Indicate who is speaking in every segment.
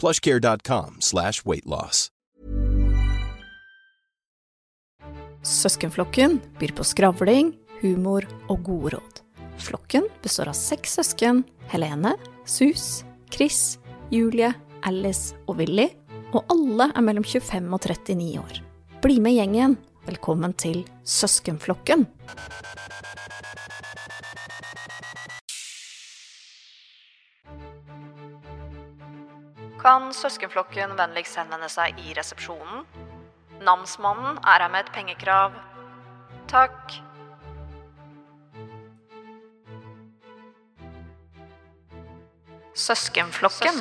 Speaker 1: plushcare.com slash weight loss.
Speaker 2: Søskenflokken byr på skravling, humor og gode råd. Flokken består av seks søsken, Helene, Sus, Chris, Julie, Alice og Willy, og alle er mellom 25 og 39 år. Bli med gjengen. Velkommen til Søskenflokken. Kan søskenflokken vennligst henvende seg i resepsjonen? Namsmannen er her med et pengekrav. Takk. Søskenflokken.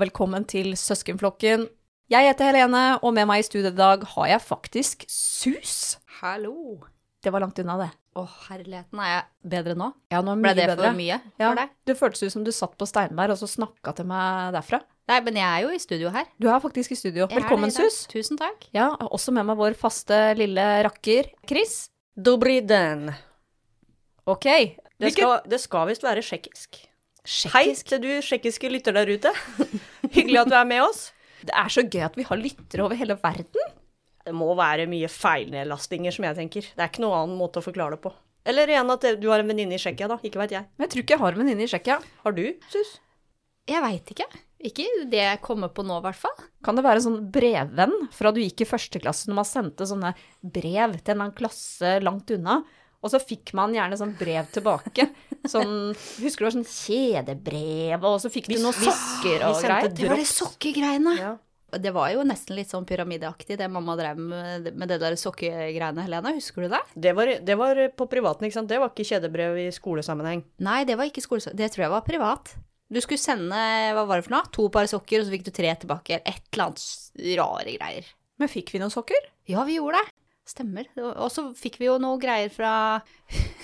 Speaker 2: Velkommen til Søskenflokken. Jeg heter Helene, og med meg i studio i dag har jeg faktisk Sus.
Speaker 3: Hallo.
Speaker 2: Det var langt unna, det.
Speaker 3: Å, herligheten, er jeg bedre nå?
Speaker 2: Ja, nå er
Speaker 3: Ble
Speaker 2: mye
Speaker 3: det
Speaker 2: bedre.
Speaker 3: for mye
Speaker 2: Ja,
Speaker 3: for deg?
Speaker 2: det føltes ut som du satt på Steinberg og så snakka til meg derfra.
Speaker 3: Nei, men jeg er jo i studio her.
Speaker 2: Du er faktisk i studio.
Speaker 3: Jeg er
Speaker 2: Velkommen,
Speaker 3: det i dag.
Speaker 2: Sus.
Speaker 3: Tusen takk.
Speaker 2: Ja, og også med meg vår faste lille rakker, Chris.
Speaker 4: Dobry den.
Speaker 2: Ok.
Speaker 4: Det
Speaker 2: Hvilken-
Speaker 4: skal, det skal visst være tsjekkisk. Hei
Speaker 2: Sjekkisk.
Speaker 4: til du tsjekkiske lytter der ute. Hyggelig at du er med oss.
Speaker 2: Det er så gøy at vi har lyttere over hele verden.
Speaker 4: Det må være mye feilnedlastinger, som jeg tenker. Det er ikke noen annen måte å forklare det på. Eller igjen at du har en venninne i Tsjekkia, da. Ikke veit jeg.
Speaker 2: Men jeg tror ikke jeg har en venninne i Tsjekkia.
Speaker 4: Har du, Sus?
Speaker 3: Jeg veit ikke. Ikke det jeg kommer på nå, i hvert fall.
Speaker 2: Kan det være en sånn brevvenn fra du gikk i første klasse, når man sendte sånne brev til en eller annen klasse langt unna? Og så fikk man gjerne sånn brev tilbake. Sånn, husker du det var sånn kjedebrev, og så fikk du noen sokker og
Speaker 4: vi sendte
Speaker 2: greier.
Speaker 4: dr-
Speaker 3: Det var de sokkegreiene.
Speaker 4: Ja.
Speaker 3: Det var jo nesten litt sånn pyramideaktig, det mamma drev med med det der sokkegreiene, Helene. Husker du det?
Speaker 4: Det var, det var på privaten, ikke sant? Det var ikke kjedebrev i skolesammenheng.
Speaker 3: Nei, det var ikke skole... Det tror jeg var privat. Du skulle sende hva var det for noe? to par sokker, og så fikk du tre tilbake. eller Et eller annet s- rare greier.
Speaker 2: Men fikk vi noen sokker?
Speaker 3: Ja, vi gjorde det. Stemmer. Det var- Og så fikk vi jo noe greier fra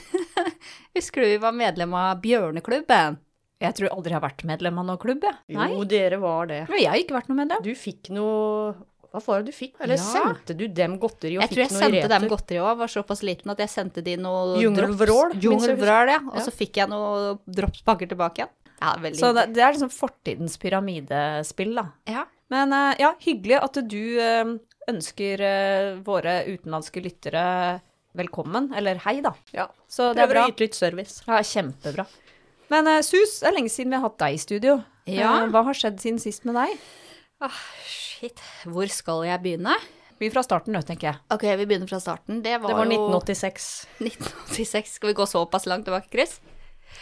Speaker 3: Husker du vi var medlem av Bjørneklubben?
Speaker 2: Jeg tror aldri jeg har vært medlem av noen klubb, jeg.
Speaker 4: Jo,
Speaker 2: Nei.
Speaker 4: dere var det.
Speaker 2: Men jeg har ikke vært noe medlem.
Speaker 4: Du fikk noe Hva var det du fikk? Eller
Speaker 2: Ja.
Speaker 4: sendte du dem godteri og
Speaker 3: Jeg tror jeg
Speaker 4: fikk noe i
Speaker 3: sendte dem
Speaker 4: retur?
Speaker 3: godteri òg. Var såpass liten at jeg sendte de noe
Speaker 4: Jungelvrål, liksom.
Speaker 3: drops.
Speaker 4: minst jeg
Speaker 3: Jungelvrål, ja. Og så fikk jeg noe dropspakker tilbake igjen. Ja, veldig
Speaker 2: Så det,
Speaker 3: hyggelig.
Speaker 2: det er liksom fortidens pyramidespill, da.
Speaker 3: ja.
Speaker 2: Men eh, ja, hyggelig at du eh, ønsker eh, våre utenlandske lyttere velkommen, eller hei, da.
Speaker 4: Ja.
Speaker 2: Så det er
Speaker 4: Prøver
Speaker 2: bra.
Speaker 4: å yte litt service.
Speaker 2: Ja, kjempebra. Men eh, Sus, det er lenge siden vi har hatt deg i studio.
Speaker 3: Ja.
Speaker 2: Eh, hva har skjedd siden sist med deg?
Speaker 3: Ah, shit. Hvor skal jeg begynne?
Speaker 2: Begynn fra starten nå, tenker jeg.
Speaker 3: Ok, vi begynner fra starten. Det var,
Speaker 4: Det var
Speaker 3: jo
Speaker 4: 1986.
Speaker 3: 1986. Skal vi gå såpass langt tilbake, Chris?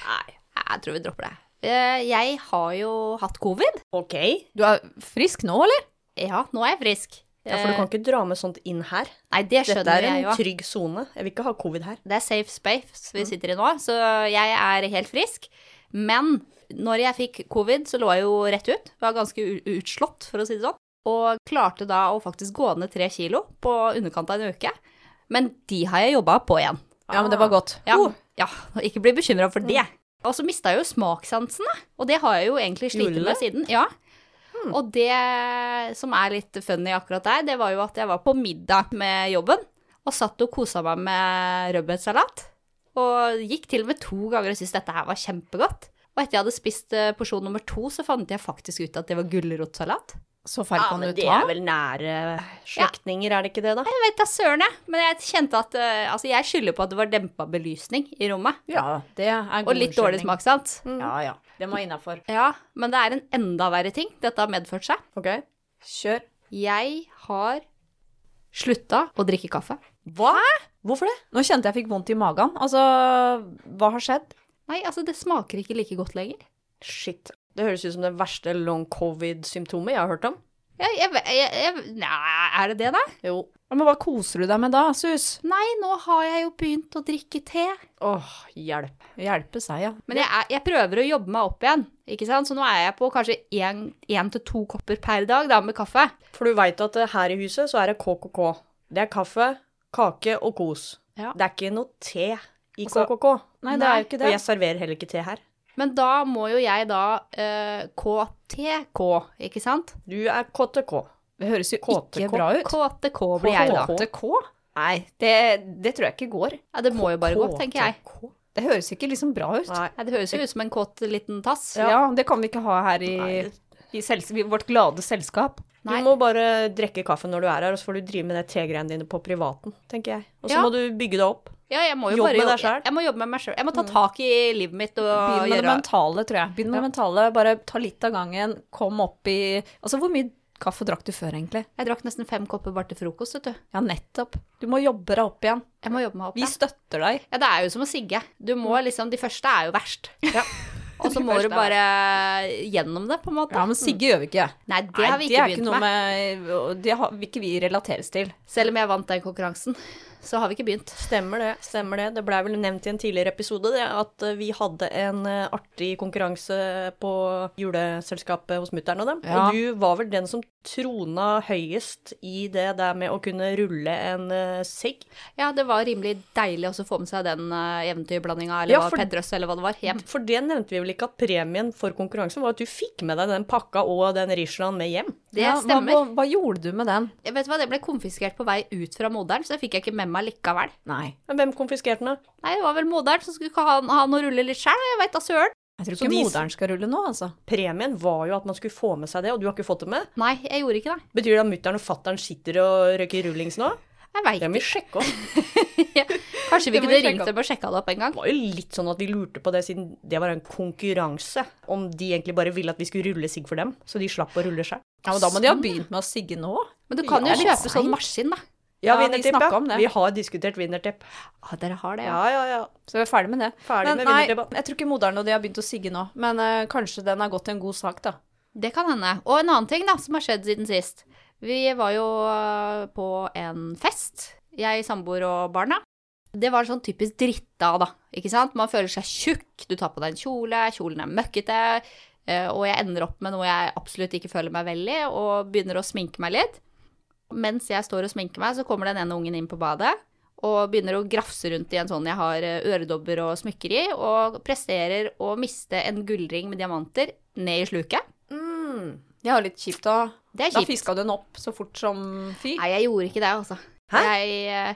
Speaker 4: Nei.
Speaker 3: Jeg tror vi dropper det. Eh, Jeg har jo hatt covid.
Speaker 4: OK.
Speaker 2: Du er frisk nå, eller?
Speaker 3: Ja, nå er jeg frisk.
Speaker 4: Ja, for du kan ikke dra med sånt inn her.
Speaker 3: Nei, det
Speaker 4: Dette
Speaker 3: skjønner
Speaker 4: er
Speaker 3: jeg
Speaker 4: en
Speaker 3: jo.
Speaker 4: trygg sone. Jeg vil ikke ha covid her.
Speaker 3: Det er safe space vi sitter i nå, så jeg er helt frisk. Men når jeg fikk covid, så lå jeg jo rett ut. Var ganske u- utslått, for å si det sånn. Og klarte da å faktisk gå ned tre kilo på underkant av en uke. Men de har jeg jobba på igjen.
Speaker 2: Ja, men det var godt. Oh. Mm.
Speaker 3: Ja, ja ikke bli bekymra for det. Og så mista jeg jo smakssansene, og det har jeg jo egentlig slitt
Speaker 4: Gjorde du
Speaker 3: med siden. Ja.
Speaker 2: Hmm.
Speaker 3: Og det som er litt funny akkurat der, det var jo at jeg var på middag med jobben, og satt og kosa meg med rødbetsalat. Og gikk til og med to ganger og syntes dette her var kjempegodt. Og etter jeg hadde spist eh, porsjon nummer to, så fant jeg faktisk ut at det var gulrotsalat.
Speaker 2: Så feil
Speaker 4: Ja,
Speaker 2: kan
Speaker 4: men
Speaker 2: du
Speaker 4: de
Speaker 2: ta.
Speaker 4: er vel nære slektninger, er det ikke det, da?
Speaker 3: Jeg vet da søren, jeg. Men jeg kjente at eh, Altså, jeg skylder på at det var dempa belysning i rommet.
Speaker 2: Ja, det er god
Speaker 3: Og litt dårlig
Speaker 2: unnskyldning.
Speaker 3: smak, sant?
Speaker 2: Ja, ja. Den var innafor.
Speaker 3: Ja, men det er en enda verre ting dette har medført seg.
Speaker 2: OK, kjør.
Speaker 3: Jeg har slutta å drikke kaffe.
Speaker 4: Hva? Hvorfor det?
Speaker 2: Nå kjente jeg fikk vondt i magen. Altså, hva har skjedd?
Speaker 3: Nei, altså, det smaker ikke like godt lenger.
Speaker 4: Shit. Det høres ut som det verste long covid-symptomet jeg har hørt om.
Speaker 3: Jeg, jeg, jeg, jeg, nei, er det det, da?
Speaker 4: Jo.
Speaker 2: Men hva koser du deg med da, Sus?
Speaker 3: Nei, nå har jeg jo begynt å drikke te.
Speaker 4: Åh, hjelp.
Speaker 2: Hjelpe seg, ja.
Speaker 3: Men jeg, er- jeg prøver å jobbe meg opp igjen, ikke sant? Så nå er jeg på kanskje én én til to kopper per dag da, med kaffe.
Speaker 4: For du veit at eh, her i huset så er det KKK. Det er kaffe, kake og kos.
Speaker 3: Ja.
Speaker 4: Det er ikke noe te i
Speaker 3: Altså,
Speaker 4: KKK.
Speaker 2: Nei, det er jo ikke
Speaker 4: Og
Speaker 2: det.
Speaker 4: jeg serverer heller ikke te her.
Speaker 3: Men da må jo jeg da eh, KTK, ikke sant?
Speaker 4: Du er KTK.
Speaker 2: Det høres jo
Speaker 4: KTK.
Speaker 2: ikke bra ut.
Speaker 3: KTK blir jeg da.
Speaker 2: KTK? Nei, det, det tror jeg ikke går.
Speaker 3: Ja, det må jo bare gå, tenker jeg.
Speaker 4: KTK?
Speaker 2: Det høres ikke liksom bra ut.
Speaker 4: Nei.
Speaker 3: Ja, det høres jo ut som en kåt liten tass.
Speaker 2: Ja, det kan vi ikke ha her i, i, sels- i vårt glade selskap.
Speaker 3: Nei.
Speaker 4: Du må bare drikke kaffe når du er her, og så får du drive med de tegreiene dine på privaten, tenker jeg. Og så
Speaker 3: Ja.
Speaker 4: må du bygge deg opp.
Speaker 3: Ja, jeg må jo
Speaker 4: Jobb
Speaker 3: bare
Speaker 4: med
Speaker 3: jobbe-
Speaker 4: deg selv.
Speaker 3: Jeg må jobbe med meg sjøl. Jeg må ta tak i livet mitt og
Speaker 2: Begynn Mm. med det
Speaker 3: gjøre
Speaker 2: mentale, tror jeg. Begynn med det mentale, Bare ta litt av gangen, kom opp i Altså, hvor mye kaffe drakk du før, egentlig?
Speaker 3: Jeg drakk nesten fem kopper bare til frokost, vet du.
Speaker 2: Ja, nettopp. Du må jobbe deg opp igjen.
Speaker 3: Jeg må jobbe meg opp.
Speaker 2: Vi
Speaker 3: ja.
Speaker 2: støtter deg.
Speaker 3: Ja, det er jo som å sigge. Du må liksom, De første er jo verst. Og så
Speaker 2: De
Speaker 3: må
Speaker 2: første
Speaker 3: du
Speaker 2: er
Speaker 3: bare gjennom det, på en måte.
Speaker 2: Ja, men Sigge gjør vi ikke.
Speaker 3: Nei, det har
Speaker 2: det
Speaker 3: vi ikke
Speaker 2: er ikke
Speaker 3: begynt
Speaker 2: noe
Speaker 3: med.
Speaker 2: med og Det har, vil ikke vi relateres til.
Speaker 3: Selv om jeg vant den konkurransen, så har vi ikke begynt.
Speaker 4: Stemmer det. stemmer Det Det blei vel nevnt i en tidligere episode det, at eh, vi hadde en eh, artig konkurranse på juleselskapet hos mutter'n og dem.
Speaker 2: Ja.
Speaker 4: Og du var vel den som trona høyest i det der med å kunne rulle en eh, sigg.
Speaker 3: Ja, det var rimelig deilig også å få med seg den uh, eventyrblandinga, eller
Speaker 4: Ja,
Speaker 3: hva
Speaker 4: for-
Speaker 3: Peder Øst, eller hva det var, hjem.
Speaker 4: For det nevnte vi vel ikke at premien for konkurransen var at du fikk med deg den pakka og den Riesland med hjem.
Speaker 3: Det
Speaker 2: Ja,
Speaker 3: stemmer.
Speaker 2: Hva, hva, hva gjorde du med den?
Speaker 3: Jeg vet du hva, Det ble konfiskert på vei ut fra moderen, så det fikk jeg ikke med meg likevel.
Speaker 2: Nei.
Speaker 4: Men hvem konfiskerte den? da?
Speaker 3: Nei, det var vel moderen som skulle ha, ha noe å rulle litt sjæl, jeg veit da søren.
Speaker 2: Jeg tror
Speaker 4: Så
Speaker 2: ikke
Speaker 4: de-
Speaker 2: moderen skal rulle nå, altså.
Speaker 4: Premien var jo at man skulle få med seg det, og du har ikke fått det med.
Speaker 3: Nei, jeg gjorde ikke det.
Speaker 4: Betyr det at mutter'n og fatter'n sitter og røyker rullings nå?
Speaker 3: Jeg veit
Speaker 4: Det må vi sjekke opp.
Speaker 3: ikke. Kanskje
Speaker 2: Det må vi
Speaker 3: vi kunne
Speaker 2: sjekke
Speaker 3: ringt
Speaker 2: opp.
Speaker 3: dem og sjekka det opp en gang.
Speaker 4: Det var jo litt sånn at vi lurte på det, siden det var en konkurranse. Om de egentlig bare ville at vi skulle rulle sigg for dem, så de slapp å rulle seg.
Speaker 2: Ja, men Da må de ha
Speaker 3: Sånn.
Speaker 2: begynt med å sigge nå.
Speaker 3: Men du kan
Speaker 2: Ja,
Speaker 3: jo
Speaker 2: litt
Speaker 3: kjøpe sånn
Speaker 2: seint.
Speaker 3: maskin, da.
Speaker 4: Ja,
Speaker 2: Ja, vi
Speaker 4: vinnertipp,
Speaker 2: snakket
Speaker 4: ja.
Speaker 2: om det.
Speaker 4: Vi har diskutert vinnertipp.
Speaker 3: Ah, dere har det,
Speaker 4: Ja, ja, ja.
Speaker 2: Så vi er ferdig med det.
Speaker 4: Ferdig
Speaker 2: men
Speaker 4: med
Speaker 2: nei,
Speaker 4: vinnertipp,
Speaker 2: jeg tror ikke moderen og de har begynt å sigge nå. Men eh, kanskje den har gått til en god sak, da.
Speaker 3: Det kan hende. Og en annen ting da, som har skjedd siden sist. Vi var jo øh, på en fest, jeg, samboer og barna. Det var sånn typisk dritta, da. Ikke sant? Man føler seg tjukk, du tar på deg en kjole, kjolen er møkkete, øh, og jeg ender opp med noe jeg absolutt ikke føler meg vel i, og begynner å sminke meg litt. Mens jeg står og sminker meg, så kommer den ene ungen inn på badet og begynner å grafse rundt i en sånn jeg har eh, øredobber og smykker i, og presterer å miste en gullring med diamanter ned i sluket.
Speaker 2: Det er jo litt kjipt, da.
Speaker 3: Det er
Speaker 2: Da
Speaker 3: kjipt.
Speaker 2: fiska du den opp så fort som fy.
Speaker 3: Nei, jeg gjorde ikke det, altså.
Speaker 4: Hæ?
Speaker 3: Jeg, eh,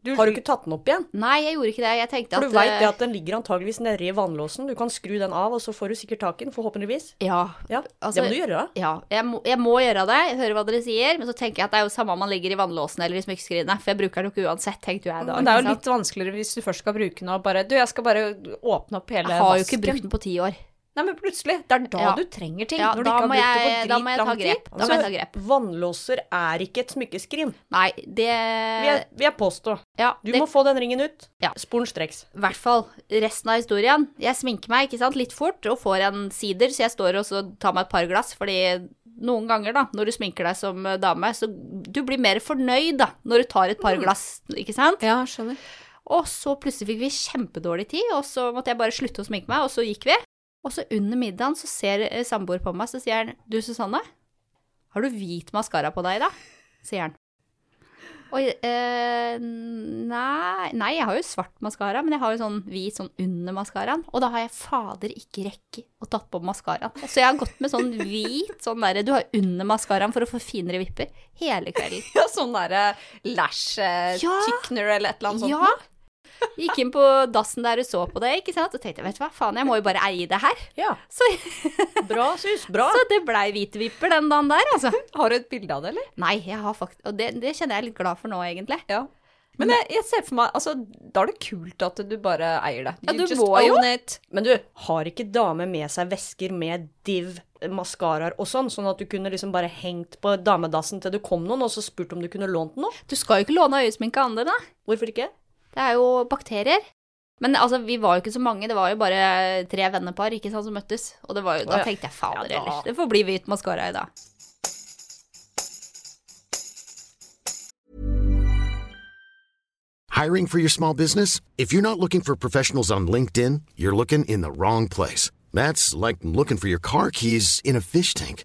Speaker 4: Har du ikke tatt den opp igjen?
Speaker 3: nei, jeg gjorde ikke det. Jeg tenkte
Speaker 4: For
Speaker 3: at
Speaker 4: du veit det
Speaker 3: eh,
Speaker 4: at den ligger antageligvis nede i vannlåsen. Du kan skru den av, og så får du sikkert tak i den, forhåpentligvis.
Speaker 3: Ja.
Speaker 4: Ja,
Speaker 3: Altså-
Speaker 4: Det må du gjøre, da.
Speaker 3: ja jeg, må, jeg må gjøre det, jeg hører hva dere sier, men så tenker jeg at det er jo samme om man ligger i vannlåsen eller i smykkeskrinet, for jeg bruker den jo ikke uansett, tenkte jeg da.
Speaker 2: Men det er jo
Speaker 3: ikke sant?
Speaker 2: litt vanskeligere hvis du først skal bruke den og bare Du, jeg skal bare åpne opp
Speaker 4: eh,
Speaker 2: hele
Speaker 3: Jeg har jo ikke
Speaker 2: vasken.
Speaker 3: brukt den på ti år.
Speaker 2: Nei, men plutselig. Det er da
Speaker 3: Ja.
Speaker 2: du trenger ting.
Speaker 3: Ja,
Speaker 2: når du
Speaker 3: da
Speaker 2: ikke har brukt
Speaker 3: må jeg-
Speaker 2: det
Speaker 3: da
Speaker 2: på
Speaker 3: må jeg
Speaker 2: dritlang
Speaker 3: ta
Speaker 2: tid.
Speaker 3: grep. Da må jeg ta grep.
Speaker 4: Altså, Vannlåser er ikke et smykkeskrin,
Speaker 3: Nei, det
Speaker 4: vil jeg, vil jeg påstå.
Speaker 3: Ja,
Speaker 4: Du
Speaker 3: Eh, det,
Speaker 4: må få den ringen ut.
Speaker 3: Ja.
Speaker 4: Sporenstreks.
Speaker 3: i hvert fall resten av historien. Jeg sminker meg ikke sant, litt fort og får en sider, så jeg står og så tar meg et par glass. Fordi noen ganger, da, når du sminker deg som eh, dame, så du blir mer fornøyd da, når du tar et
Speaker 4: Mm.
Speaker 3: par glass, ikke sant?
Speaker 2: Ja, skjønner.
Speaker 3: Og så plutselig fikk vi kjempedårlig tid, og så måtte jeg bare slutte å sminke meg, og så gikk vi. Og så under middagen så ser eh, samboer på meg, så sier han, du Susanne, har du hvit maskara på deg i dag? Sier han. Oi, eh, nei, nei, jeg har jo svart maskara, men jeg har jo sånn hvit sånn under maskaraen. Og da har jeg fader ikke rekke å tatt på maskaraen. Så jeg har gått med sånn hvit sånn derre du har under maskaraen for å få finere vipper hele kvelden.
Speaker 4: Ja, sånn derre lash eh,
Speaker 3: Ja.
Speaker 4: thickener eller et eller annet sånt.
Speaker 3: Ja! Gikk inn på dassen der og så på det, ikke sant? og tenkte vet du hva, faen, jeg må jo bare eie det her.
Speaker 4: Ja. Ah.
Speaker 3: Så,
Speaker 4: Bra, sus. Bra.
Speaker 3: så det blei hvite vipper den dagen der, altså.
Speaker 4: har du et bilde av det, eller?
Speaker 3: Nei, jeg har faktisk Og det, det kjenner jeg er litt glad for nå, egentlig.
Speaker 4: Ja. Men jeg, jeg ser for meg altså, Da er det kult at du bare eier det.
Speaker 3: Ja,
Speaker 4: You
Speaker 3: du
Speaker 4: just
Speaker 3: må jo.
Speaker 4: own It. Men du, har ikke dame med seg vesker med div, eh, maskaraer og sånn, sånn at du kunne liksom bare hengt på damedassen til du kom noen, og så spurt om du kunne lånt noe?
Speaker 3: Du skal jo ikke låne øyesminke av andre, da.
Speaker 4: Hvorfor ikke?
Speaker 3: Det er jo bakterier. Men altså, vi var jo ikke så mange, det var jo bare tre vennepar ikke sant, som møttes. Og det var jo,
Speaker 4: Å,
Speaker 3: da
Speaker 4: ja.
Speaker 3: tenkte jeg fader
Speaker 4: Ja, da.
Speaker 3: heller, det får bli hvit maskara i dag.
Speaker 5: Hiring for your small business? If you're not looking for professionals on LinkedIn, you're looking in the wrong place. That's like looking for your car keys in a fish tank.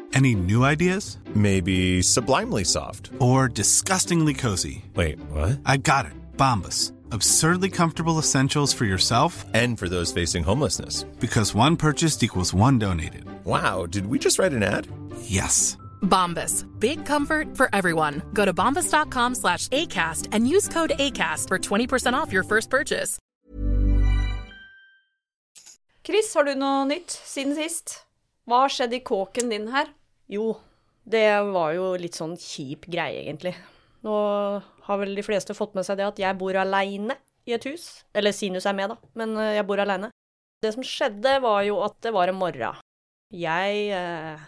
Speaker 6: Any new ideas?
Speaker 7: Maybe sublimely soft.
Speaker 6: Or disgustingly cozy?
Speaker 7: Wait, what?
Speaker 6: I got it, Bombus. Absurdly comfortable essentials for yourself
Speaker 7: And for those facing homelessness.
Speaker 6: because one purchased equals one donated.
Speaker 7: Wow, did we just write an ad?
Speaker 6: Yes.
Speaker 8: Bombas. Big comfort for everyone. Go to bombas.com slash ACAST and use code ACAST for 20% off your first purchase.
Speaker 4: Chris, har du noe nytt siden sist? Hva har skjedd i kåken din her? Jo, det var jo litt sånn kjip greie, egentlig. Nå har vel de fleste fått med seg det at jeg bor aleine i et hus. Eller Sinus er med, da, men eh, jeg bor aleine. Det som skjedde, var jo at det var en morgen. Jeg eh,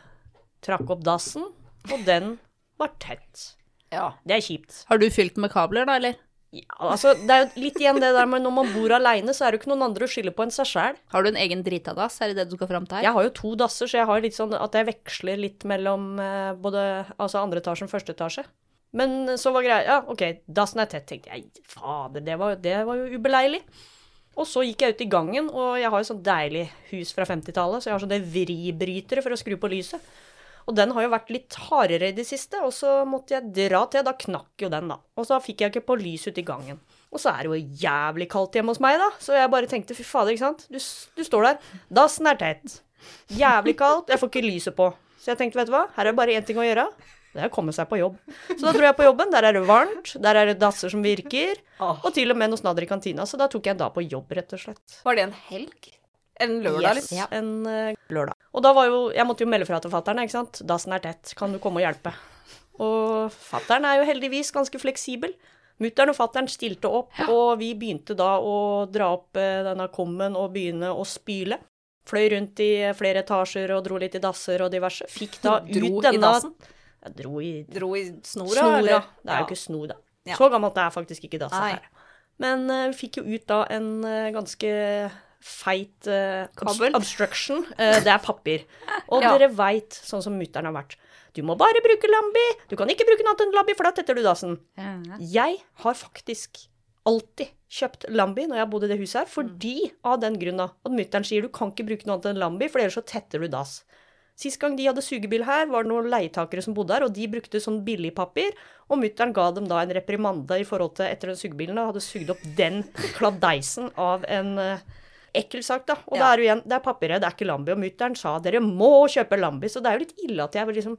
Speaker 4: trakk opp dassen, og den var tett.
Speaker 3: Ja.
Speaker 4: Det er kjipt.
Speaker 3: Har du fylt den med kabler, da, eller?
Speaker 4: Ja, altså, det er jo litt igjen det der med når man bor aleine, så er det jo ikke noen andre å skylde på enn seg sjæl.
Speaker 3: Har du en egen dritadas? Er det det du skal fram til her?
Speaker 4: Jeg har jo to dasser, så jeg har litt sånn at jeg veksler litt mellom eh, både altså andre etasje og første etasje. Men så var greia Ja, OK, dassen er tett, tenkte jeg. Fader, det var, det var jo ubeleilig. Og så gikk jeg ut i gangen, og jeg har jo sånn deilig hus fra 50-tallet, så jeg har sånne vribrytere for å skru på lyset. Og den har jo vært litt hardere i det siste, og så måtte jeg dra til. Da knakk jo den, da. Og så fikk jeg ikke på lys ute i gangen. Og så er det jo jævlig kaldt hjemme hos meg, da. Så jeg bare tenkte fy fader, ikke sant. Du, s- du står der. Dassen er tett. Jævlig kaldt. Jeg får ikke lyset på. Så jeg tenkte, vet du hva, her er det bare én ting å gjøre. Det er å komme seg på jobb. Så da dro jeg på jobben. Der er det varmt. Der er det dasser som virker. Og til og med noe snadder i kantina. Så da tok jeg en dag på jobb, rett og slett.
Speaker 3: Var det en helg?
Speaker 4: En lørdag,
Speaker 3: Yes.
Speaker 4: liksom.
Speaker 3: Ja.
Speaker 4: En eh, lørdag. Og da var jo Jeg måtte jo melde fra til fatter'n, ikke sant. Dassen er tett, kan du komme og hjelpe? Og fatter'n er jo heldigvis ganske fleksibel. Mutter'n og fatter'n stilte opp, og vi begynte da å dra opp eh, denne kummen og begynne å spyle. Fløy rundt i flere etasjer og dro litt i dasser og diverse. Fikk da ut
Speaker 3: Dro i
Speaker 4: denne
Speaker 3: dassen?
Speaker 4: Jeg dro i
Speaker 3: Dro i snora,
Speaker 4: snora. Det er jo ikke snor, da. Så gammelt er faktisk ikke dasset
Speaker 3: Nei.
Speaker 4: her. Men eh, vi fikk jo ut da en eh, ganske feit eh, obst-
Speaker 3: Kabel.
Speaker 4: obstruction. Eh, det er papir. Og
Speaker 3: Ja.
Speaker 4: dere veit, sånn som mutter'n har vært. Du må bare bruke lambi. Du kan ikke bruke noe annet enn lambi, for da tetter du dassen. Jeg har faktisk alltid kjøpt Lambi når jeg bodde i det huset her, fordi av den grunn at mutter'n sier du kan ikke bruke noe annet enn Lambi, for ellers så tetter du dass. Sist gang de hadde sugebil her, var det noen leietakere som bodde her, og de brukte sånn billigpapir, og mutter'n ga dem da en reprimande i forhold til etter den sugebilen da, hadde sugd opp den kladeisen av en eh, ekkel sak, da. Og da er det jo igjen, det er papiret, det er ikke Lambi, og mutter'n sa dere må kjøpe Lambi, så det er jo litt ille at jeg var liksom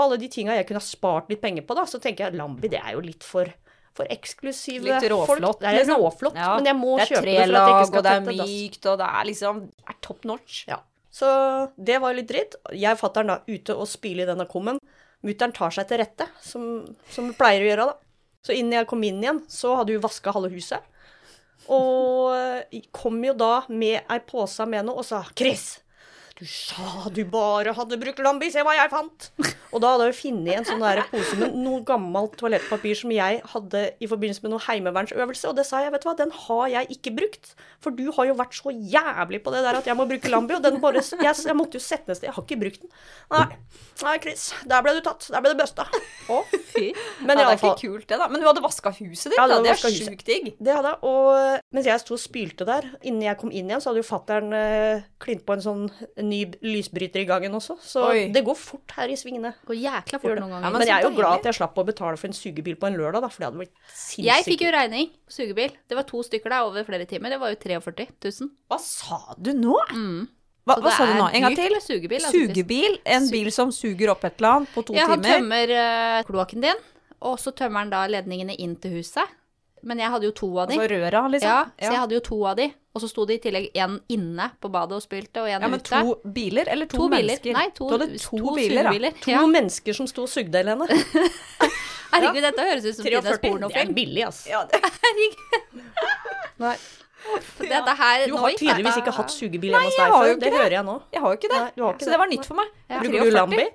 Speaker 4: alle de tinga jeg kunne ha spart litt penger på, da, så tenker jeg Lambi det er jo litt for, for eksklusive
Speaker 9: Litt råflott,
Speaker 4: folk. Det er
Speaker 9: liksom.
Speaker 4: råflott,
Speaker 9: Ja.
Speaker 4: men jeg må
Speaker 9: det er
Speaker 4: kjøpe
Speaker 9: tre
Speaker 4: det for at jeg ikke
Speaker 9: lag,
Speaker 4: skal
Speaker 9: og det er
Speaker 4: tette dass.
Speaker 9: mykt, og det er liksom det er top notch.
Speaker 4: Ja. Så det var jo litt dritt. Jeg og fatter'n da ute og spyler i denne kummen. Mutter'n tar seg til rette, som, som hun pleier å gjøre, da. Så innen jeg kom inn igjen, så hadde hun vaska halve huset. eh, Og kom jo da med ei pose med noe og sa 'Chris, Du sa du bare hadde brukt Lambi, se hva jeg fant! Og da hadde jeg funnet en sånn der pose med noe gammelt toalettpapir som jeg hadde i forbindelse med noe heimevernsøvelse, og det sa jeg, vet du hva, den har jeg ikke brukt. For du har jo vært så jævlig på det der at jeg må bruke Lambi, og den bare Jeg, jeg måtte jo sette den et sted, jeg har ikke brukt den. Nei, nei, Chris, der ble du tatt. Der ble du busta. Å,
Speaker 2: Fy.
Speaker 4: Men
Speaker 2: ja, det er
Speaker 4: iallfall-
Speaker 2: ikke kult, det, da. Men du hadde vaska huset ditt,
Speaker 4: Ja,
Speaker 2: da.
Speaker 4: det
Speaker 2: Det
Speaker 4: var
Speaker 2: er
Speaker 4: vasket huset.
Speaker 2: sjukt digg.
Speaker 4: Det hadde jeg. Og mens jeg sto og spylte der, innen jeg kom inn igjen, så hadde jo fattern eh, klint på en sånn ny b- lysbryter i gangen også. Så
Speaker 2: Oi.
Speaker 4: det går fort her i svingene.
Speaker 3: Går jækla
Speaker 4: Gjør
Speaker 3: fort
Speaker 4: det.
Speaker 3: noen
Speaker 4: men,
Speaker 3: ganger.
Speaker 4: jeg er jo glad at jeg slapp å betale for en sugebil på en lørdag, da, for det hadde blitt sinnssykt.
Speaker 3: Jeg fikk jo regning på sugebil. Det var to stykker der over flere timer. Det var jo 43 000.
Speaker 2: Hva sa du nå? Hva, hva
Speaker 3: Så det
Speaker 2: sa du
Speaker 3: er
Speaker 2: nå? En gang
Speaker 3: dyrt
Speaker 2: til?
Speaker 3: med sugebil, altså.
Speaker 2: Sugebil? En bil som suger opp et eller annet på to
Speaker 3: Ja, han
Speaker 2: timer?
Speaker 3: tømmer eh, kloakken din, og så tømmer han da ledningene inn til huset. Men jeg hadde jo to av de.
Speaker 2: Altså røra, liksom?
Speaker 3: ja, så jeg hadde jo to av de. Og så sto det i tillegg én inne på badet og spilte, og én
Speaker 2: Ja, men
Speaker 3: ute.
Speaker 2: to biler, eller to,
Speaker 3: To biler.
Speaker 2: mennesker?
Speaker 3: Nei, to,
Speaker 2: du hadde to, biler, da.
Speaker 3: sugebiler.
Speaker 4: To
Speaker 3: Ja.
Speaker 4: mennesker som sto og sugde, Helene.
Speaker 3: Herregud, dette høres ut som
Speaker 4: 43.
Speaker 3: Tinas
Speaker 4: Det er
Speaker 3: pornofilm.
Speaker 4: billig, altså.
Speaker 2: Ja, det,
Speaker 4: Nei,
Speaker 3: Dette her,
Speaker 4: du
Speaker 3: nå
Speaker 4: har
Speaker 3: gikk
Speaker 4: tydeligvis
Speaker 3: dette-
Speaker 4: ikke hatt sugebil hjemme hos
Speaker 2: jeg
Speaker 4: deg
Speaker 2: har
Speaker 4: før.
Speaker 2: jo
Speaker 4: Det
Speaker 2: ikke det.
Speaker 4: hører jeg nå.
Speaker 2: jeg har jo ikke det.
Speaker 4: Nei, du har ikke
Speaker 2: så
Speaker 4: det.
Speaker 2: det var nytt for meg.
Speaker 3: Ja.
Speaker 4: Bruker du
Speaker 2: 43?
Speaker 4: Lambi?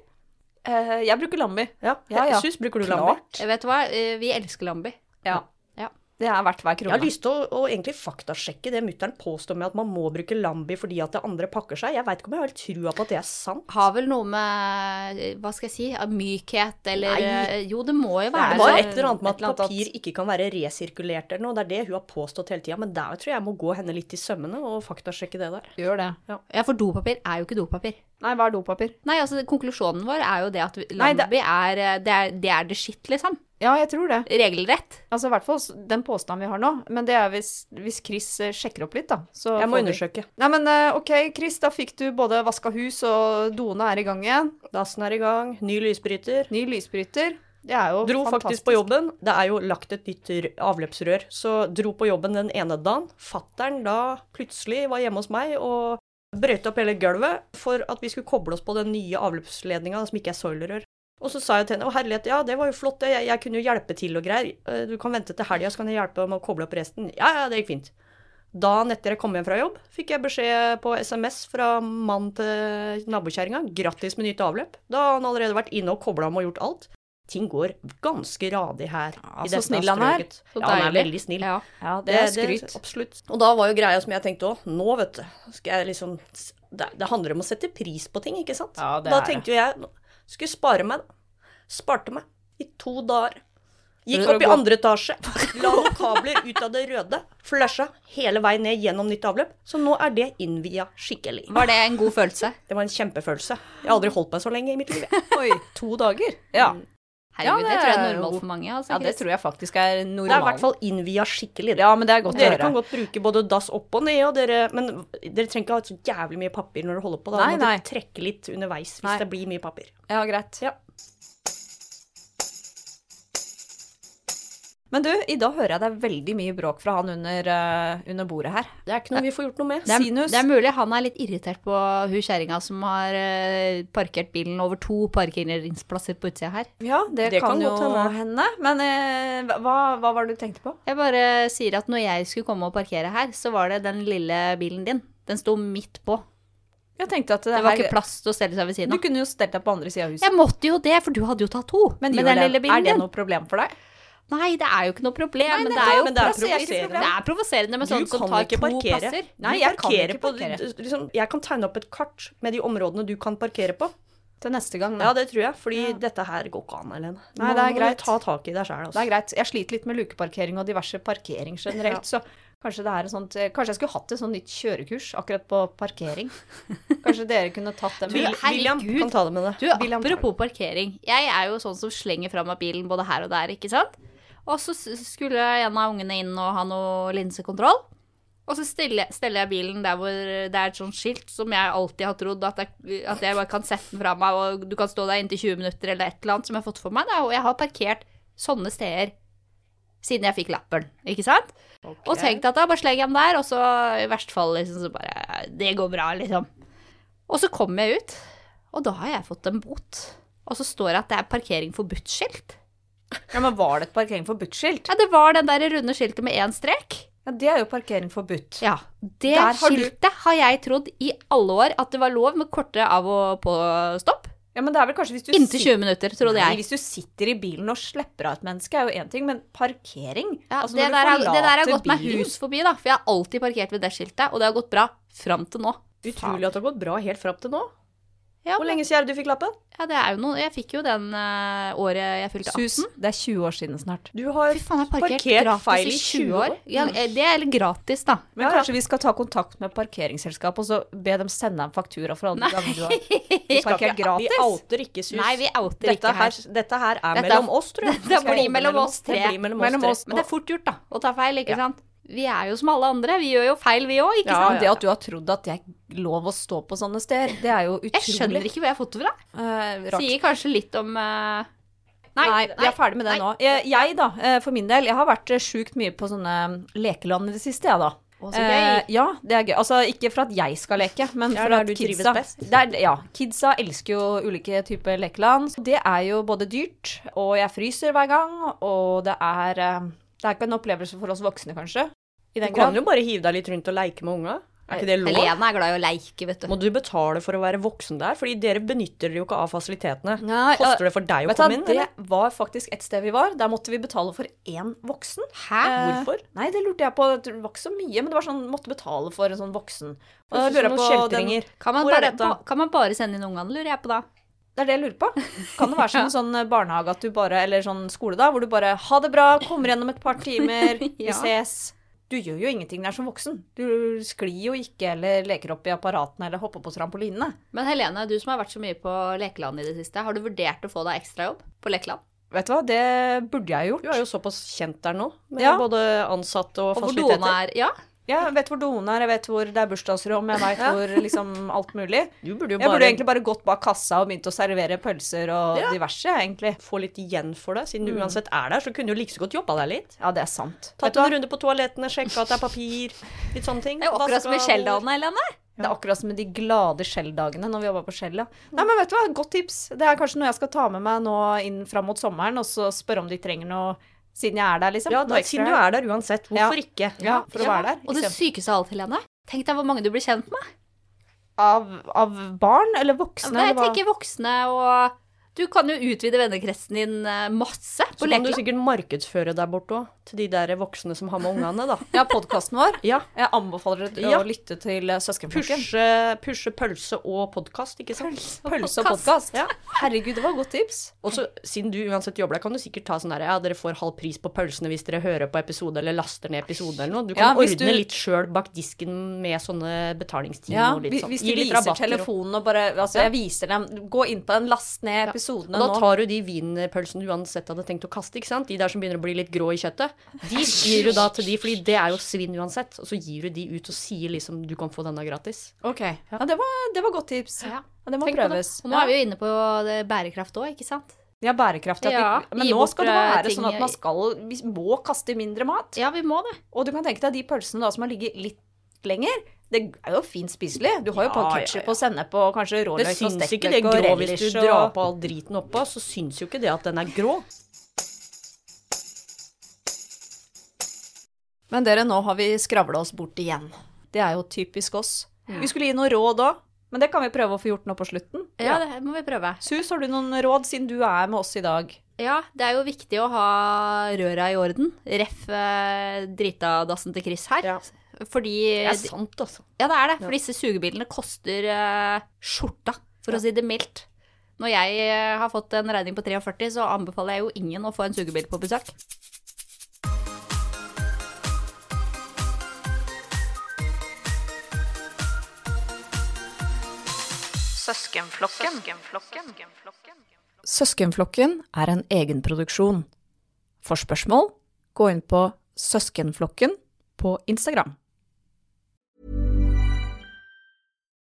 Speaker 2: Eh, jeg bruker Lambi.
Speaker 4: Ja.
Speaker 2: Ja, ja.
Speaker 4: Sus, bruker du Lambi?
Speaker 2: Klart.
Speaker 3: Jeg vet hva, eh, vi elsker Lambi.
Speaker 2: Ja.
Speaker 3: Ja.
Speaker 2: Det er verdt hver
Speaker 4: Jeg har
Speaker 2: krone.
Speaker 4: lyst til å, å egentlig faktasjekke det mutter'n påstår med at man må bruke Lambi fordi at det andre pakker seg. Jeg veit ikke om jeg har helt trua på at det er sant.
Speaker 3: Har vel noe med, eh, hva skal jeg si, av mykhet eller eh,
Speaker 4: Nei.
Speaker 3: Jo, det må jo
Speaker 4: Det
Speaker 3: være
Speaker 4: var
Speaker 3: sånn-
Speaker 4: et eller annet med
Speaker 2: et eller annet
Speaker 4: at papir ikke kan være resirkulert eller noe. Det er det hun har påstått hele tida. Men der tror jeg jeg må gå henne litt i sømmene og faktasjekke det der.
Speaker 2: Gjør det.
Speaker 3: Ja, for dopapir er jo ikke dopapir.
Speaker 2: Nei, hva er dopapir?
Speaker 3: Nei, altså konklusjonen vår er jo det at
Speaker 2: Nei, det-
Speaker 3: Lambi er, eh, det er det er the shit, liksom.
Speaker 2: Ja, jeg tror det.
Speaker 3: Regelrett.
Speaker 2: Altså i hvert fall s- den påstanden vi har nå. Men det er hvis, hvis Chris eh, sjekker opp litt, da. Så
Speaker 4: Jeg må
Speaker 2: får vi-
Speaker 4: undersøke.
Speaker 2: Nei, men eh, OK, Chris, da fikk du både vaska hus, og doene er i gang igjen.
Speaker 4: Dassen er i gang, ny lysbryter.
Speaker 2: Ny lysbryter. Det er jo
Speaker 4: Dro
Speaker 2: fantastisk.
Speaker 4: faktisk på jobben. Det er jo lagt et nytt r- avløpsrør. Så dro på jobben den ene dagen. Fattern da plutselig var hjemme hos meg og brøyte opp hele gulvet for at vi skulle koble oss på den nye avløpsledninga som ikke er soilerrør. Og så sa jeg til henne å herlighet, ja det var jo flott, det. jeg, jeg kunne jo hjelpe til og greier. Eh, Du kan vente til helga, så kan jeg hjelpe med å koble opp resten. Ja, ja, det gikk fint. Dagen etter jeg kom hjem fra jobb, fikk jeg beskjed på SMS fra mannen til nabokjerringa. Grattis med nytt avløp. Da har han allerede vært inne og kobla om og gjort alt. Ting går ganske radig her.
Speaker 2: Ja, så snill han er.
Speaker 4: strøket.
Speaker 3: Så
Speaker 4: Ja, han er
Speaker 3: deilig.
Speaker 4: veldig snill.
Speaker 3: Ja.
Speaker 2: Ja, det er skryt.
Speaker 4: absolutt. Og da var jo greia som jeg tenkte òg, nå vet du, skal jeg liksom det, det handler om å sette pris på ting, ikke sant?
Speaker 2: Ja, det
Speaker 4: da
Speaker 2: er det.
Speaker 4: tenkte jo jeg, nå skulle jeg spare meg, da. Sparte meg i to dager. Gikk
Speaker 2: For å
Speaker 4: opp i
Speaker 2: gå-
Speaker 4: andre etasje, la noen kabler ut av det røde, flasha hele veien ned gjennom nytt avløp. Så nå er det innvia skikkelig.
Speaker 3: Var det en god følelse?
Speaker 4: Det var en kjempefølelse. Jeg har aldri holdt meg så lenge i mitt liv. jeg.
Speaker 2: Oi, to dager? Mm. Ja. Ja,
Speaker 3: Herregud, det,
Speaker 2: det
Speaker 3: tror jeg
Speaker 2: er
Speaker 3: er
Speaker 2: jo
Speaker 3: normalt
Speaker 2: god-
Speaker 3: for mange. Altså,
Speaker 2: ja, det
Speaker 3: Chris.
Speaker 2: tror jeg faktisk er
Speaker 4: Det er i hvert
Speaker 2: normalt.
Speaker 4: fall innvia skikkelig. det.
Speaker 2: Ja, men det er godt å
Speaker 4: Dere
Speaker 2: høre.
Speaker 4: kan godt bruke både dass opp og ned, og dere, men dere trenger ikke ha så jævlig mye papir når dere holder på. Da
Speaker 2: Nei,
Speaker 4: må
Speaker 2: nei.
Speaker 4: dere trekke litt underveis hvis
Speaker 2: Nei.
Speaker 4: det blir mye papir.
Speaker 2: Ja, greit.
Speaker 4: Ja.
Speaker 2: Men du, i dag hører jeg det er veldig mye bråk fra han under, eh, under bordet her.
Speaker 4: Det er ikke noe vi får gjort noe med.
Speaker 3: Det er,
Speaker 2: Sinus.
Speaker 3: det er mulig han er litt irritert på hun kjerringa som har eh, parkert bilen over to parkeringsplasser på utsida her.
Speaker 2: Ja, det,
Speaker 4: Det
Speaker 2: kan,
Speaker 4: kan
Speaker 2: jo
Speaker 4: godt
Speaker 2: hende.
Speaker 4: hende.
Speaker 2: Men eh, hva, hva var det du tenkte på?
Speaker 3: Jeg bare sier at når jeg skulle komme og parkere her, så var det den lille bilen din. Den sto midt på.
Speaker 2: Jeg tenkte at det,
Speaker 3: Det var
Speaker 2: her,
Speaker 3: ikke plass til å stelle seg ved siden
Speaker 2: Du
Speaker 3: av.
Speaker 2: kunne jo stelt deg på andre sida av huset.
Speaker 3: Jeg måtte jo det, for du hadde jo tatt to. Men,
Speaker 2: gjør
Speaker 3: den
Speaker 2: det.
Speaker 3: lille bilen
Speaker 2: er det
Speaker 3: din
Speaker 2: noe problem for deg?
Speaker 3: Nei, det er jo ikke noe problem. men det
Speaker 2: nettopp.
Speaker 3: er jo
Speaker 4: Men det er
Speaker 3: plasser-
Speaker 4: provoserende.
Speaker 3: Det er provoserende med
Speaker 2: sånn
Speaker 3: sånne som tar to plasser.
Speaker 2: Nei,
Speaker 4: Du
Speaker 2: jeg kan
Speaker 4: parkerer
Speaker 2: ikke
Speaker 4: på-
Speaker 2: parkere.
Speaker 4: du- Liksom, jeg kan tegne opp et kart med de områdene du kan parkere på.
Speaker 2: Til neste gang, da.
Speaker 4: Ja, det tror jeg, fordi dette her går ikke an, Helene.
Speaker 2: Mm. Nei,
Speaker 4: Nå
Speaker 2: det er
Speaker 4: må du
Speaker 2: greit.
Speaker 4: Ta tak i deg sjæl,
Speaker 2: Det er
Speaker 4: altså.
Speaker 2: greit. Jeg sliter litt med lukeparkering og diverse parkering generelt, så kanskje det er et sånt eh, Kanskje jeg skulle hatt et sånt nytt kjørekurs akkurat på parkering. Kanskje dere kunne tatt det med
Speaker 4: Vil- William
Speaker 3: herregud.
Speaker 4: kan ta det med det.
Speaker 3: Du,
Speaker 2: William tar
Speaker 3: apropos parkering. Jeg er jo sånn som slenger fra meg bilen både her og der, ikke sant? Og så s- skulle en av ungene inn og ha noe linsekontroll. Og så steller, steller jeg bilen der hvor det er et sånt skilt som jeg alltid har trodd at jeg, at jeg bare kan sette den fra meg, og du kan stå der inntil 20 minutter eller et eller annet som jeg har fått for meg. Da. Og jeg har parkert sånne steder siden jeg fikk lappen, ikke sant? Og tenkt at da bare slenger jeg den der, og så i verste fall liksom så bare Det går bra, liksom. Og så kom jeg ut, og da har jeg fått en bot. Og så står det at det er parkering forbudt-skilt.
Speaker 2: Ja, men var det et parkering forbudt-skilt?
Speaker 3: Ja, det var den der runde skiltet med én strek.
Speaker 2: Ja, det er jo parkering forbudt.
Speaker 3: Ja, det
Speaker 2: Der har du-
Speaker 3: skiltet har jeg trodd i alle år at det var lov med korte av og på-stopp.
Speaker 2: Ja, men det er vel kanskje hvis du
Speaker 3: Inntil
Speaker 2: sit-
Speaker 3: 20 minutter, trodde
Speaker 2: Nei,
Speaker 3: jeg.
Speaker 2: Hvis du sitter i bilen og slipper av et menneske, er jo én ting, men parkering
Speaker 3: Ja,
Speaker 2: Altså, når du
Speaker 3: det, der er, det der har
Speaker 2: forlater
Speaker 3: gått meg
Speaker 2: bilen-
Speaker 3: hus forbi, da, for jeg har alltid parkert ved det skiltet, og det har gått bra fram til nå.
Speaker 4: Utrolig at det har gått bra helt fram til nå.
Speaker 3: Ja,
Speaker 4: Hvor
Speaker 3: men-
Speaker 4: lenge siden er det du fikk lappen?
Speaker 3: Ja, det er jo noe. Jeg fikk jo den eh, året jeg fylte 18.
Speaker 2: Sus, det er 20 år siden snart.
Speaker 4: Du har
Speaker 3: Fy faen, jeg har parkert,
Speaker 4: parkert
Speaker 3: gratis
Speaker 4: feil
Speaker 3: i 20 år. Ja,
Speaker 4: Mm.
Speaker 3: eh, det er litt gratis, da.
Speaker 2: Men kanskje vi skal ta kontakt med parkeringsselskapet og så be dem sende en faktura for alle gangene du har parkert
Speaker 4: Vi
Speaker 2: gratis.
Speaker 4: outer ikke sus.
Speaker 3: Nei, vi outer
Speaker 4: dette
Speaker 3: ikke her.
Speaker 4: her. Dette her er
Speaker 3: Dette er-
Speaker 4: mellom oss, tror jeg.
Speaker 3: dette
Speaker 4: Vi skal
Speaker 3: blir
Speaker 4: holde
Speaker 3: mellom oss tre.
Speaker 4: Det blir mellom,
Speaker 2: Mellom
Speaker 4: oss
Speaker 2: oss.
Speaker 3: Men det er fort gjort, da, å ta feil, ikke sant? Vi er jo som alle andre. Vi gjør jo feil, vi òg, ikke
Speaker 2: Ja,
Speaker 3: sant?
Speaker 2: men Det at du har trodd at det er lov å stå på sånne steder, det er jo utrolig
Speaker 3: Jeg skjønner ikke hvor jeg har fått det fra.
Speaker 2: eh, rart.
Speaker 3: Sier kanskje litt om eh,
Speaker 2: Nei, vi er ferdig med det
Speaker 3: nei.
Speaker 2: nå. Jeg, jeg da, eh, for min del, jeg har vært eh, sjukt mye på sånne eh, lekeland i det siste, jeg da.
Speaker 3: Å, så gøy.
Speaker 2: Eh, ja, det er gøy. Altså, ikke for at jeg skal leke, men
Speaker 4: Ja,
Speaker 2: for
Speaker 4: der
Speaker 2: at
Speaker 4: du trives
Speaker 2: kidsa
Speaker 4: best.
Speaker 2: der, Ja, kidsa elsker jo ulike typer lekeland. Så Det er jo både dyrt, og jeg fryser hver gang, og det er eh, Det er ikke en opplevelse for oss voksne, kanskje. I
Speaker 4: Du
Speaker 2: den
Speaker 4: kan
Speaker 2: grad.
Speaker 4: jo bare hive deg litt rundt og leke med unga. Er
Speaker 3: Eh,
Speaker 4: ikke det lov?
Speaker 3: Helene er glad i å leike, vet du.
Speaker 4: Må du betale for å være voksen der? Fordi dere benytter dere jo ikke av fasilitetene.
Speaker 2: Nei,
Speaker 4: Koster
Speaker 2: eh,
Speaker 4: det for deg å
Speaker 2: Vet du,
Speaker 4: komme
Speaker 2: hva,
Speaker 4: inn?
Speaker 2: det
Speaker 4: eller?
Speaker 2: var faktisk et sted vi var. Der måtte vi betale for én voksen.
Speaker 3: Hæ?
Speaker 2: Eh,
Speaker 4: Hvorfor?
Speaker 2: Nei, det lurte jeg på. Det var ikke så mye, men det var sånn måtte betale for en sånn voksen. Og
Speaker 4: Høres
Speaker 2: da
Speaker 4: ut
Speaker 2: lurer jeg
Speaker 4: som noen
Speaker 2: på den,
Speaker 4: kjeltringer.
Speaker 3: Kan man,
Speaker 4: Hvor er
Speaker 3: bare,
Speaker 4: dette?
Speaker 3: ba- kan man bare sende inn ungene, lurer jeg på da?
Speaker 2: Det er det jeg lurer på. Kan det være som en sånn barnehage at du bare, eller sånn skole, da, hvor du bare 'ha det bra, kommer igjen om et par timer, vi
Speaker 3: Ja.
Speaker 2: ses'. Du gjør jo ingenting der som voksen. Du sklir jo ikke eller leker opp i apparatene eller hopper på trampolinene.
Speaker 3: Men Helene, du som har vært så mye på lekeland i det siste, har du vurdert å få deg ekstrajobb på lekeland?
Speaker 2: Vet du hva, det burde jeg gjort.
Speaker 4: Du er jo såpass kjent der nå, med
Speaker 2: Ja.
Speaker 4: både ansatte og
Speaker 3: Og hvor
Speaker 4: fasiliteter.
Speaker 3: doene er Ja,
Speaker 2: Jeg vet hvor doen er, jeg vet hvor det er bursdagsrom, jeg vet hvor liksom alt mulig.
Speaker 4: Du burde jo
Speaker 2: Jeg
Speaker 4: bare
Speaker 2: burde egentlig bare gått bak kassa og begynt å servere pølser og
Speaker 4: Ja.
Speaker 2: diverse, egentlig. Mm.
Speaker 4: få litt igjen for det. Siden du uansett er der, så kunne du like så godt jobba deg litt.
Speaker 2: Ja, det er sant.
Speaker 4: Tatt en runde på toalettene, sjekka at det er papir, litt sånne ting.
Speaker 3: det er jo akkurat som i
Speaker 4: Vaska
Speaker 3: Skjeldalen, Helene.
Speaker 2: Det er akkurat som med de glade Shell-dagene når vi jobba på Shell. Ja. Nei, men vet du hva, godt tips. Det er kanskje noe jeg skal ta med meg nå inn fram mot sommeren, og så spørre om de trenger noe siden jeg er der,
Speaker 4: bord.
Speaker 2: liksom.
Speaker 4: Ja,
Speaker 2: Noe
Speaker 4: da,
Speaker 2: ekstra.
Speaker 4: siden du er der uansett, hvorfor
Speaker 2: Ja.
Speaker 4: ikke?
Speaker 2: Ja, for å
Speaker 4: Ja.
Speaker 2: være der.
Speaker 3: Og det
Speaker 2: eksempel.
Speaker 3: sykeste av alt, Helene. Tenk deg hvor mange du blir kjent med.
Speaker 2: Av, av barn eller voksne?
Speaker 3: Nei, jeg
Speaker 2: eller hva?
Speaker 3: tenker voksne og Du kan jo utvide vennekretsen din eh, masse på
Speaker 4: Så kan du
Speaker 3: lekeland.
Speaker 4: sikkert markedsføre der borte òg, til de der voksne som har med ungene, da.
Speaker 2: Ja, podkasten vår.
Speaker 4: Ja.
Speaker 2: Jeg anbefaler dere
Speaker 4: Ja.
Speaker 2: å lytte til eh, Søskenflokken.
Speaker 4: Pushe, pushe pølse og podkast, ikke sant?
Speaker 2: Pølse og podkast. Herregud, det var et godt tips.
Speaker 4: Og så, siden du uansett jobber der, kan du sikkert ta sånn her Ja, dere får halv pris på pølsene hvis dere hører på episode eller laster ned episode eller noe. Du
Speaker 2: Ja,
Speaker 4: kan
Speaker 2: hvis
Speaker 4: ordne
Speaker 2: du-
Speaker 4: litt sjøl bak disken med sånne betalingstimer
Speaker 2: Ja,
Speaker 4: og litt
Speaker 2: vi-
Speaker 4: sånn.
Speaker 2: hvis
Speaker 4: Gi
Speaker 2: de
Speaker 4: litt
Speaker 2: viser
Speaker 4: rabatter og-
Speaker 2: telefonen og bare Altså, jeg viser dem. Gå inn på den, last ned episodene
Speaker 4: Og da
Speaker 2: nå.
Speaker 4: tar du de wienerpølsene du uansett hadde tenkt å kaste, ikke sant? De der som begynner å bli litt grå i kjøttet. De gir du da til de, fordi det er jo svinn uansett. Og så gir du de ut og sier liksom du kan få denne gratis.
Speaker 2: Ok. Ja, det var, det var godt tips. Ja, det må
Speaker 3: Tenk på det.
Speaker 2: prøves.
Speaker 3: Og nå er vi jo inne på det bærekraft òg, ikke sant?
Speaker 2: Ja, bærekraftig. at
Speaker 3: Ja,
Speaker 2: vi, men
Speaker 3: gi
Speaker 2: nå
Speaker 3: bort,
Speaker 2: skal det
Speaker 3: eh,
Speaker 2: være
Speaker 3: ting
Speaker 2: sånn at
Speaker 3: i-
Speaker 2: man skal, vi må kaste mindre mat.
Speaker 3: Ja, vi må det.
Speaker 2: Og du kan tenke deg de pølsene da, som har ligget litt lenger. Det er jo fint spiselig. Du har jo
Speaker 4: Ja,
Speaker 2: på
Speaker 4: ja,
Speaker 2: ketsjup
Speaker 4: ja.
Speaker 2: og sennep og kanskje
Speaker 4: Det
Speaker 2: råløk og
Speaker 4: syns ikke det
Speaker 2: stekt løk og
Speaker 4: grå hvis
Speaker 2: relish.
Speaker 4: du drar
Speaker 2: Og...
Speaker 4: på all driten oppå, så syns jo ikke det at den er grå.
Speaker 2: Men dere, nå har vi skravla oss bort igjen. Det er jo typisk oss. Vi skulle gi noen råd òg, men det kan vi prøve å få gjort nå på slutten.
Speaker 3: Ja, det må vi prøve.
Speaker 2: Sus, har du noen råd siden du er med oss i dag?
Speaker 3: Ja, det er jo viktig å ha røra i orden. Ref eh, dritadassen til Chris her.
Speaker 4: Ja.
Speaker 3: Fordi
Speaker 4: Det
Speaker 2: Eh,
Speaker 4: er sant, altså.
Speaker 3: Ja, det er det. For disse sugebilene koster eh, skjorta, for å si det mildt. Når jeg eh, har fått en regning på 43, så anbefaler jeg jo ingen å få en sugebil på besøk.
Speaker 2: Søskenflokken er en egenproduksjon. For spørsmål, gå inn på Søskenflokken på Instagram.